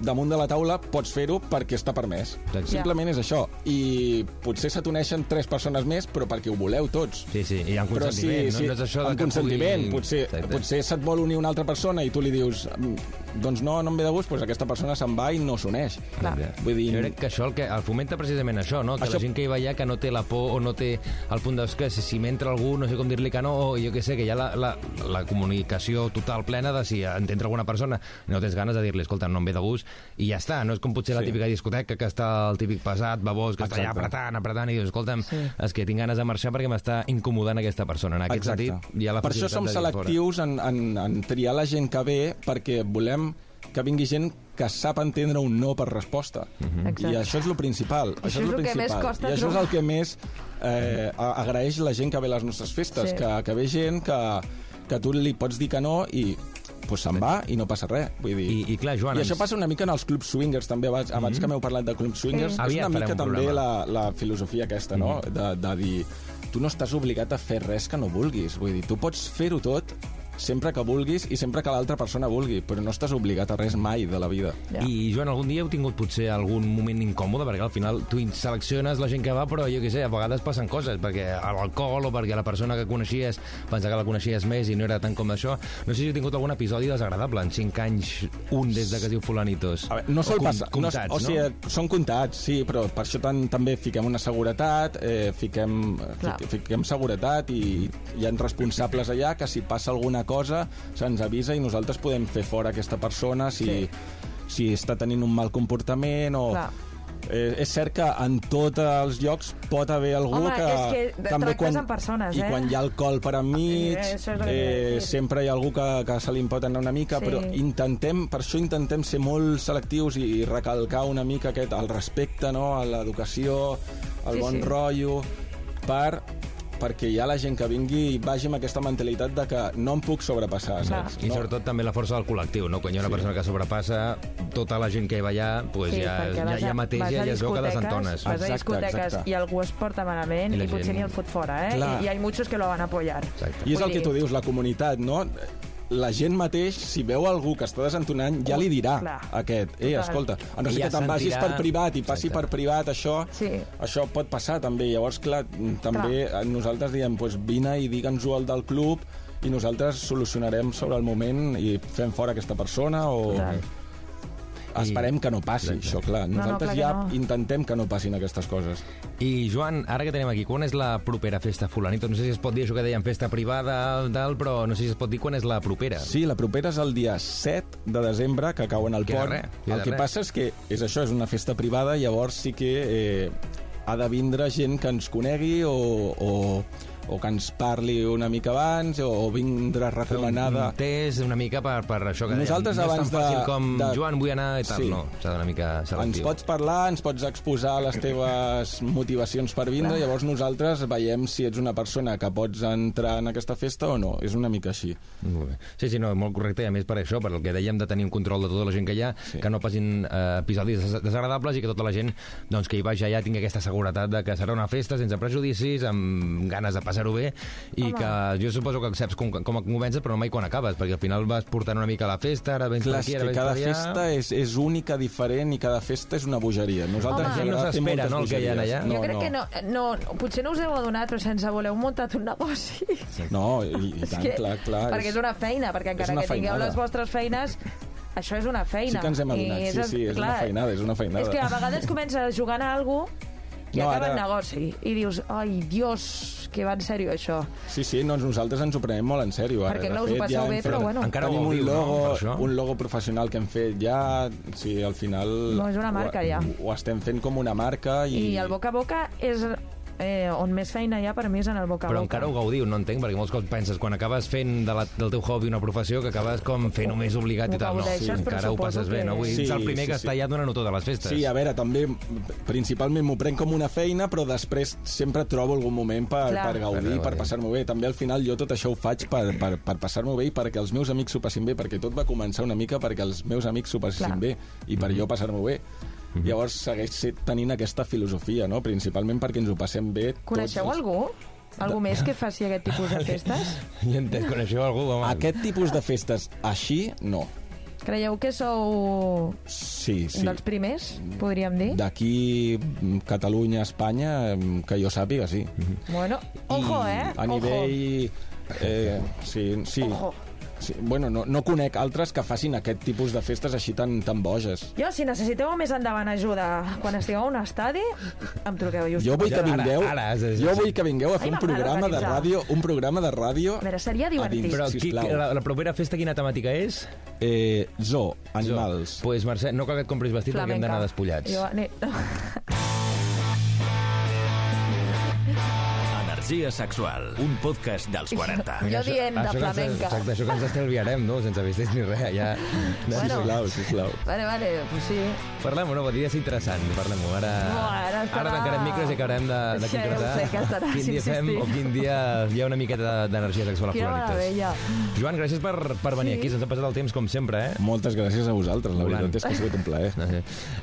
[SPEAKER 5] damunt de la taula pots fer-ho perquè està permès.
[SPEAKER 3] Exacte.
[SPEAKER 5] Simplement és això. I potser se t'uneixen tres persones més, però perquè ho voleu tots.
[SPEAKER 3] Sí, sí, i hi ha un consentiment, no? no és això de
[SPEAKER 5] amb
[SPEAKER 3] que
[SPEAKER 5] consentiment,
[SPEAKER 3] pugui...
[SPEAKER 5] potser,
[SPEAKER 3] Exacte.
[SPEAKER 5] potser se't vol unir una altra persona i tu li dius "Mm, doncs no, no em ve de gust, doncs aquesta persona se'n va i no s'uneix.
[SPEAKER 4] Clar.
[SPEAKER 5] Vull dir,
[SPEAKER 3] Jo crec que això el que el fomenta precisament això, no? Que
[SPEAKER 5] Això-
[SPEAKER 3] la gent que hi va allà que no té la por o no té el punt de que si, si m'entra algú no sé com dir-li que no, o jo què sé, que hi ha la, la, la comunicació total plena de si entra alguna persona no tens ganes de dir-li, escolta, no em ve de gust i ja està, no és com potser la
[SPEAKER 5] Sí.
[SPEAKER 3] típica discoteca que està el típic pesat, babós, que està allà
[SPEAKER 5] Exacte.
[SPEAKER 3] apretant, apretant i dius, escolta'm, sí. és que tinc ganes de marxar perquè m'està incomodant aquesta persona. En aquest
[SPEAKER 5] Exacte.
[SPEAKER 3] sentit, hi ha la
[SPEAKER 5] per això
[SPEAKER 3] facilitat
[SPEAKER 5] som
[SPEAKER 3] de dir fora.
[SPEAKER 5] selectius en, en, en triar la gent que ve perquè volem que vingui gent que sap entendre un no per resposta.
[SPEAKER 3] Mhm.
[SPEAKER 5] I
[SPEAKER 4] Exacte.
[SPEAKER 5] això és el principal. Això,
[SPEAKER 4] és
[SPEAKER 5] lo
[SPEAKER 4] lo que
[SPEAKER 5] principal.
[SPEAKER 4] més costa
[SPEAKER 5] I això és
[SPEAKER 4] trobar.
[SPEAKER 5] el que més eh, a- agraeix la gent que ve a les nostres festes,
[SPEAKER 4] Sí.
[SPEAKER 5] que, que ve gent que, que tu li pots dir que no i pues se'n va i no passa res. Vull dir,
[SPEAKER 3] I- i clar, Joan,
[SPEAKER 5] I
[SPEAKER 3] ens- Mhm.
[SPEAKER 5] això passa una mica en els clubs swingers, també. Abans, abans que m'heu parlat de clubs swingers, és una
[SPEAKER 3] Aviat farem
[SPEAKER 5] mica
[SPEAKER 3] un
[SPEAKER 5] també
[SPEAKER 3] programa.
[SPEAKER 5] la, la filosofia aquesta, no? De, de dir, tu no estàs obligat a fer res que no vulguis. Vull dir, tu pots fer-ho tot sempre que vulguis i sempre que l'altra persona vulgui, però no estàs obligat a res mai de la vida.
[SPEAKER 4] Ja.
[SPEAKER 3] I, Joan, algun dia heu tingut potser algun moment incòmode, perquè al final tu selecciones la gent que va, però jo què sé, a vegades passen coses, perquè a l'alcohol o perquè la persona que coneixies, pensava que la coneixies més i no era tant com això. No sé si heu tingut algun episodi desagradable en 5 anys, un des de que es diu Fulanitos.
[SPEAKER 5] A veure, no sol
[SPEAKER 3] O com-
[SPEAKER 5] passar.
[SPEAKER 3] Comptats,
[SPEAKER 5] no, o sigui, Són comptats, sí, però per això tan, també fiquem una seguretat, eh, fiquem,
[SPEAKER 4] Clar.
[SPEAKER 5] fic, fiquem seguretat i hi ha responsables allà que si passa alguna cosa se'ns avisa i nosaltres podem fer fora aquesta persona si, sí. si està tenint un mal comportament o...
[SPEAKER 4] Clar.
[SPEAKER 5] Eh, és cert que en tots els llocs pot haver algú
[SPEAKER 6] Home,
[SPEAKER 5] que...
[SPEAKER 6] és que tractes amb persones,
[SPEAKER 5] I
[SPEAKER 6] eh?
[SPEAKER 5] quan hi ha alcohol per enmig,
[SPEAKER 6] Eh, això és el que volia
[SPEAKER 5] eh,
[SPEAKER 6] dir.
[SPEAKER 5] sempre hi ha algú que, que se li pot anar una mica,
[SPEAKER 6] Sí.
[SPEAKER 5] sí. però intentem, per això intentem ser molt selectius i, i recalcar una mica aquest, el respecte, no? a l'educació, el
[SPEAKER 6] Sí,
[SPEAKER 5] sí, bon
[SPEAKER 6] sí.
[SPEAKER 5] sí. rotllo, per, perquè hi ha la gent que vingui i vagi amb aquesta mentalitat de que no em puc sobrepassar, saps?
[SPEAKER 3] I
[SPEAKER 5] No?
[SPEAKER 3] sobretot també la força del col·lectiu, no? Quan hi ha una sí. persona que sobrepassa, tota la gent que hi va allà, pues
[SPEAKER 6] Sí,
[SPEAKER 3] ja,
[SPEAKER 6] perquè
[SPEAKER 3] ja,
[SPEAKER 6] vas a-
[SPEAKER 3] ja mateix
[SPEAKER 6] vas a
[SPEAKER 3] ja, ja es veu que
[SPEAKER 6] discoteques,
[SPEAKER 3] desentones.
[SPEAKER 6] Vas a
[SPEAKER 5] Exacte,
[SPEAKER 6] discoteques
[SPEAKER 5] exacte.
[SPEAKER 6] i algú es porta malament
[SPEAKER 3] I
[SPEAKER 6] i,
[SPEAKER 3] la
[SPEAKER 6] potser
[SPEAKER 3] gent-
[SPEAKER 6] ni el fot fora, eh?
[SPEAKER 5] Clar.
[SPEAKER 6] I, I hi ha muchos que lo van a apoyar.
[SPEAKER 3] Exacte.
[SPEAKER 5] I és el
[SPEAKER 6] Vull
[SPEAKER 5] que
[SPEAKER 6] dir-
[SPEAKER 5] tu dius, la comunitat, no? La gent mateix, si veu algú que està desentonant, ja li dirà
[SPEAKER 6] Clar.
[SPEAKER 5] a aquest. Ei,
[SPEAKER 6] Total.
[SPEAKER 5] escolta, a no
[SPEAKER 3] I
[SPEAKER 5] ser
[SPEAKER 3] ja
[SPEAKER 5] que te'n
[SPEAKER 3] sentirà-
[SPEAKER 5] vagis per privat i passi
[SPEAKER 3] Exacte.
[SPEAKER 5] per privat, això
[SPEAKER 6] Sí.
[SPEAKER 5] això pot passar també. Llavors, clar, m- també eh, nosaltres diem, doncs vine i digue'ns-ho al del club i nosaltres solucionarem sobre el moment i fem fora aquesta persona o...
[SPEAKER 6] Total.
[SPEAKER 5] Esperem que no passi, això, clar.
[SPEAKER 6] no,
[SPEAKER 5] Nosaltres
[SPEAKER 6] clar que
[SPEAKER 5] ja
[SPEAKER 6] no.
[SPEAKER 5] intentem que no passin aquestes coses.
[SPEAKER 3] I, Joan, ara que tenim aquí, quan és la propera festa fulanito? No sé si es pot dir això que deien festa privada, tal, però no sé si es pot dir quan és la propera.
[SPEAKER 5] Sí, la propera és el dia 7 de desembre, que cau en el
[SPEAKER 3] Queda
[SPEAKER 5] pont.
[SPEAKER 3] res, queda
[SPEAKER 5] el que
[SPEAKER 3] res.
[SPEAKER 5] passa és que és això, és una festa privada, llavors sí que eh, ha de vindre gent que ens conegui o, o, o que ens parli una mica abans o, o vindre recomanada...
[SPEAKER 3] Un test una mica per, per això que
[SPEAKER 5] Nosaltres
[SPEAKER 3] dèiem.
[SPEAKER 5] abans
[SPEAKER 3] no és tan fàcil
[SPEAKER 5] de-
[SPEAKER 3] com
[SPEAKER 5] de-
[SPEAKER 3] Joan, vull anar i tal.
[SPEAKER 5] Sí.
[SPEAKER 3] No, s'ha d'anar una mica
[SPEAKER 5] Ens
[SPEAKER 3] selectiu.
[SPEAKER 5] pots parlar, ens pots exposar les teves motivacions per vindre, llavors nosaltres veiem si ets una persona que pots entrar en aquesta festa o no. És una mica així.
[SPEAKER 3] Molt bé. Sí, sí, no, molt correcte, i a més per això, per el que dèiem de tenir un control de tota la gent que hi ha, sí. que no passin eh, episodis des- desagradables i que tota la gent doncs, que hi vagi allà tingui aquesta seguretat de que serà una festa sense prejudicis, amb ganes de passar-ho bé, i Home. que jo suposo que saps com, com comences, però no mai quan acabes, perquè al final vas portant una mica la festa, ara vens
[SPEAKER 5] Clar,
[SPEAKER 3] per aquí,
[SPEAKER 5] és
[SPEAKER 3] ara
[SPEAKER 5] que
[SPEAKER 3] vens
[SPEAKER 5] cada
[SPEAKER 3] per allà...
[SPEAKER 5] festa és, és única, diferent, i cada festa és una bogeria.
[SPEAKER 3] Home.
[SPEAKER 5] Nosaltres
[SPEAKER 3] La gent
[SPEAKER 5] ens
[SPEAKER 3] no
[SPEAKER 5] agrada fer
[SPEAKER 3] s'espera,
[SPEAKER 5] moltes
[SPEAKER 3] no, el que hi ha
[SPEAKER 5] bogeries.
[SPEAKER 3] allà.
[SPEAKER 4] jo crec que no, no, potser no us heu adonat, però sense voler heu muntat un negoci.
[SPEAKER 5] No, i, i tant, que, clar, clar.
[SPEAKER 4] Perquè és una feina, perquè encara
[SPEAKER 5] una
[SPEAKER 4] que tingueu
[SPEAKER 5] feinada.
[SPEAKER 4] les vostres feines, això és una feina.
[SPEAKER 5] Sí que ens hem adonat,
[SPEAKER 4] I
[SPEAKER 5] sí, sí, és una
[SPEAKER 4] clar,
[SPEAKER 5] feinada, és una feinada.
[SPEAKER 4] És que a vegades comences jugant a algú i
[SPEAKER 5] No,
[SPEAKER 4] no, acaba
[SPEAKER 5] ara-
[SPEAKER 4] el negoci. I dius, ai, Dios, que va en sèrio això.
[SPEAKER 5] Sí, sí, no, nosaltres ens ho prenem molt en sèrio. Ara.
[SPEAKER 4] Perquè
[SPEAKER 5] De
[SPEAKER 4] no us ho
[SPEAKER 5] fet,
[SPEAKER 4] passeu
[SPEAKER 5] hem
[SPEAKER 4] bé, però
[SPEAKER 5] fet-
[SPEAKER 4] bueno.
[SPEAKER 3] Encara ho
[SPEAKER 5] Tenim un
[SPEAKER 3] viu, no, per
[SPEAKER 5] logo,
[SPEAKER 3] això.
[SPEAKER 5] un logo professional que hem fet ja, sí, al final...
[SPEAKER 4] No, és una marca,
[SPEAKER 5] ho,
[SPEAKER 4] ja.
[SPEAKER 5] Ho estem fent com una marca i...
[SPEAKER 6] I el boca a boca és eh, on més feina hi ha per mi és en el boca a
[SPEAKER 3] Però
[SPEAKER 6] boca.
[SPEAKER 3] encara ho gaudiu, no entenc, perquè molts cops penses, quan acabes fent de la, del teu hobby una professió, que acabes com fent només obligat i
[SPEAKER 6] Ho
[SPEAKER 3] tal. No,
[SPEAKER 6] gaudeixes, però
[SPEAKER 3] encara ho
[SPEAKER 6] suposo
[SPEAKER 3] passes bé,
[SPEAKER 6] que-
[SPEAKER 3] no? Vull dir,
[SPEAKER 5] Sí,
[SPEAKER 3] ets el primer
[SPEAKER 5] sí,
[SPEAKER 3] que
[SPEAKER 5] sí.
[SPEAKER 3] està allà donant-ho tot a les festes.
[SPEAKER 5] Sí, a veure, també, principalment m'ho prenc com una feina, però després sempre trobo algun moment per,
[SPEAKER 6] Clar.
[SPEAKER 5] per gaudir,
[SPEAKER 3] Per
[SPEAKER 5] per passar-m'ho bé. També al final jo tot això ho faig per, per, per passar-m'ho bé i perquè els meus amics s'ho passin bé, perquè tot va començar una mica perquè els meus amics s'ho passin
[SPEAKER 4] Clar.
[SPEAKER 5] bé i per jo passar-m'ho bé. Llavors segueix ser- tenint aquesta filosofia, no? principalment perquè ens ho passem bé. tots
[SPEAKER 6] Coneixeu
[SPEAKER 5] els-
[SPEAKER 6] algú? Algú més que faci aquest tipus de festes?
[SPEAKER 3] Ja en coneixeu algú, home.
[SPEAKER 5] Aquest tipus de festes així, no.
[SPEAKER 6] Creieu que sou
[SPEAKER 5] Sí,
[SPEAKER 6] sí.
[SPEAKER 5] sí.
[SPEAKER 6] dels primers, podríem dir?
[SPEAKER 5] D'aquí, mm, Catalunya, Espanya, mm, que jo sàpiga, sí.
[SPEAKER 6] Bueno, ojo, eh?
[SPEAKER 5] A
[SPEAKER 6] Ojo.
[SPEAKER 5] nivell... Eh, sí, sí.
[SPEAKER 6] Ojo.
[SPEAKER 5] Sí, bueno, no, no conec altres que facin aquest tipus de festes així tan, tan boges.
[SPEAKER 6] Jo, si necessiteu més endavant ajuda quan estigueu a un estadi, em truqueu i us...
[SPEAKER 5] Jo vull
[SPEAKER 3] Ja,
[SPEAKER 5] que
[SPEAKER 3] ara,
[SPEAKER 5] vingueu,
[SPEAKER 3] ara, és- és-
[SPEAKER 5] jo vull que vingueu a fer
[SPEAKER 6] Ai,
[SPEAKER 5] un
[SPEAKER 6] m'agrada
[SPEAKER 5] programa de
[SPEAKER 6] organitzar.
[SPEAKER 5] ràdio, un programa de ràdio
[SPEAKER 6] A veure, seria divertit.
[SPEAKER 5] dins,
[SPEAKER 3] Però qui,
[SPEAKER 5] sisplau.
[SPEAKER 3] la, la propera festa quina temàtica és?
[SPEAKER 5] Eh, zoo, animals.
[SPEAKER 3] pues, Mercè, no cal que et compris vestit perquè hem d'anar despullats.
[SPEAKER 6] Jo, ni...
[SPEAKER 7] Energia sexual, un podcast dels 40.
[SPEAKER 4] Jo dient de
[SPEAKER 3] això que ens-
[SPEAKER 4] flamenca.
[SPEAKER 3] Exacte, això que ens estalviarem, no? Sense vestits ni res, ja...
[SPEAKER 4] Bueno.
[SPEAKER 5] Sisplau, sisplau.
[SPEAKER 4] Vale, vale, pues sí.
[SPEAKER 3] Parlem-ho, no? Vol dir, és interessant. Parlem-ho. Ara,
[SPEAKER 6] Buah, ara estarà-
[SPEAKER 3] ara tancarem micros i acabarem de, de
[SPEAKER 6] Sí, ja ho
[SPEAKER 3] concretar
[SPEAKER 6] sé, que estaràs
[SPEAKER 3] quin dia fem
[SPEAKER 6] insistint.
[SPEAKER 3] o quin dia hi ha una miqueta d'energia sexual a
[SPEAKER 4] Quina
[SPEAKER 3] Pluralitas.
[SPEAKER 4] meravella.
[SPEAKER 3] Joan, gràcies per, per venir aquí. Se'ns ha passat el temps, com sempre, eh?
[SPEAKER 5] Moltes gràcies a vosaltres, la
[SPEAKER 3] Volant.
[SPEAKER 5] veritat és que ha sigut un plaer.
[SPEAKER 3] No sé.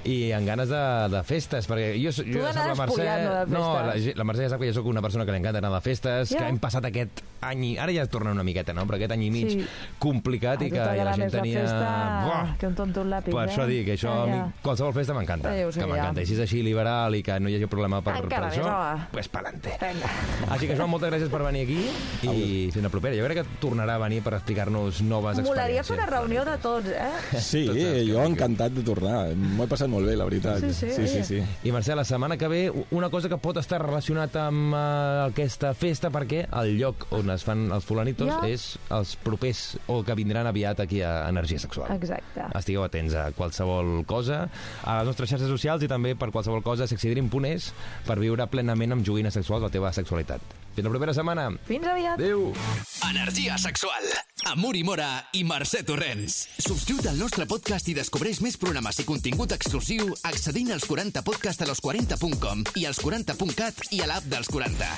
[SPEAKER 3] I amb ganes de, de festes, perquè jo, jo
[SPEAKER 4] Tu
[SPEAKER 3] ja sap
[SPEAKER 4] anaves pullant, no, de
[SPEAKER 3] No,
[SPEAKER 4] festes.
[SPEAKER 3] la, ge- la Mercè ja sap que jo sóc una persona que li encanta anar de festes,
[SPEAKER 4] Ja.
[SPEAKER 3] que hem passat aquest any... i- Ara ja torna una miqueta, no? Però aquest any i mig
[SPEAKER 4] Sí.
[SPEAKER 3] complicat
[SPEAKER 6] A
[SPEAKER 3] i
[SPEAKER 6] tu
[SPEAKER 3] que i la
[SPEAKER 6] t'agrada
[SPEAKER 3] gent
[SPEAKER 6] més la
[SPEAKER 3] tenia...
[SPEAKER 6] festa
[SPEAKER 3] Buah!
[SPEAKER 6] que un tonto un làpid,
[SPEAKER 3] Per
[SPEAKER 6] eh?
[SPEAKER 3] això dic, això
[SPEAKER 6] Ja,
[SPEAKER 3] a mi,
[SPEAKER 6] ja.
[SPEAKER 3] qualsevol festa m'encanta.
[SPEAKER 4] Ja ho sé,
[SPEAKER 3] Que m'encanta.
[SPEAKER 4] ja.
[SPEAKER 3] I si és així liberal i que no hi hagi problema per,
[SPEAKER 6] Encara
[SPEAKER 3] per
[SPEAKER 6] més,
[SPEAKER 3] això,
[SPEAKER 6] home.
[SPEAKER 3] pues pa'lante.
[SPEAKER 6] Vinga.
[SPEAKER 3] Així que, Joan, moltes gràcies per venir aquí i fins la propera. Jo crec que tornarà a venir per explicar-nos noves
[SPEAKER 6] Molaria
[SPEAKER 3] experiències.
[SPEAKER 6] fer una reunió de tots, eh?
[SPEAKER 5] Sí,
[SPEAKER 3] Tots els que
[SPEAKER 5] jo
[SPEAKER 3] vulguin.
[SPEAKER 5] encantat de tornar. M'ho he passat molt bé, la veritat.
[SPEAKER 6] Sí, sí.
[SPEAKER 5] sí, sí, sí.
[SPEAKER 3] I Marcel, la setmana que ve, u- una cosa que pot estar relacionat amb eh, aquesta festa, perquè el lloc on es fan els fulanitos
[SPEAKER 4] Ja.
[SPEAKER 3] és els propers o que vindran aviat aquí a Energia Sexual.
[SPEAKER 4] Exacte.
[SPEAKER 3] Estigueu atents a qualsevol cosa, a les nostres xarxes socials i també per qualsevol cosa sexidrim.es per viure plenament amb joguines sexuals la teva sexualitat. Fins la propera setmana.
[SPEAKER 6] Fins aviat.
[SPEAKER 3] Adéu!
[SPEAKER 8] Energia sexual. Amor i Mora i Mercè Torrents. Subscriu't al nostre podcast i descobreix més programes i contingut exclusiu accedint als 40podcastalos40.com i als 40.cat i a l'app dels 40.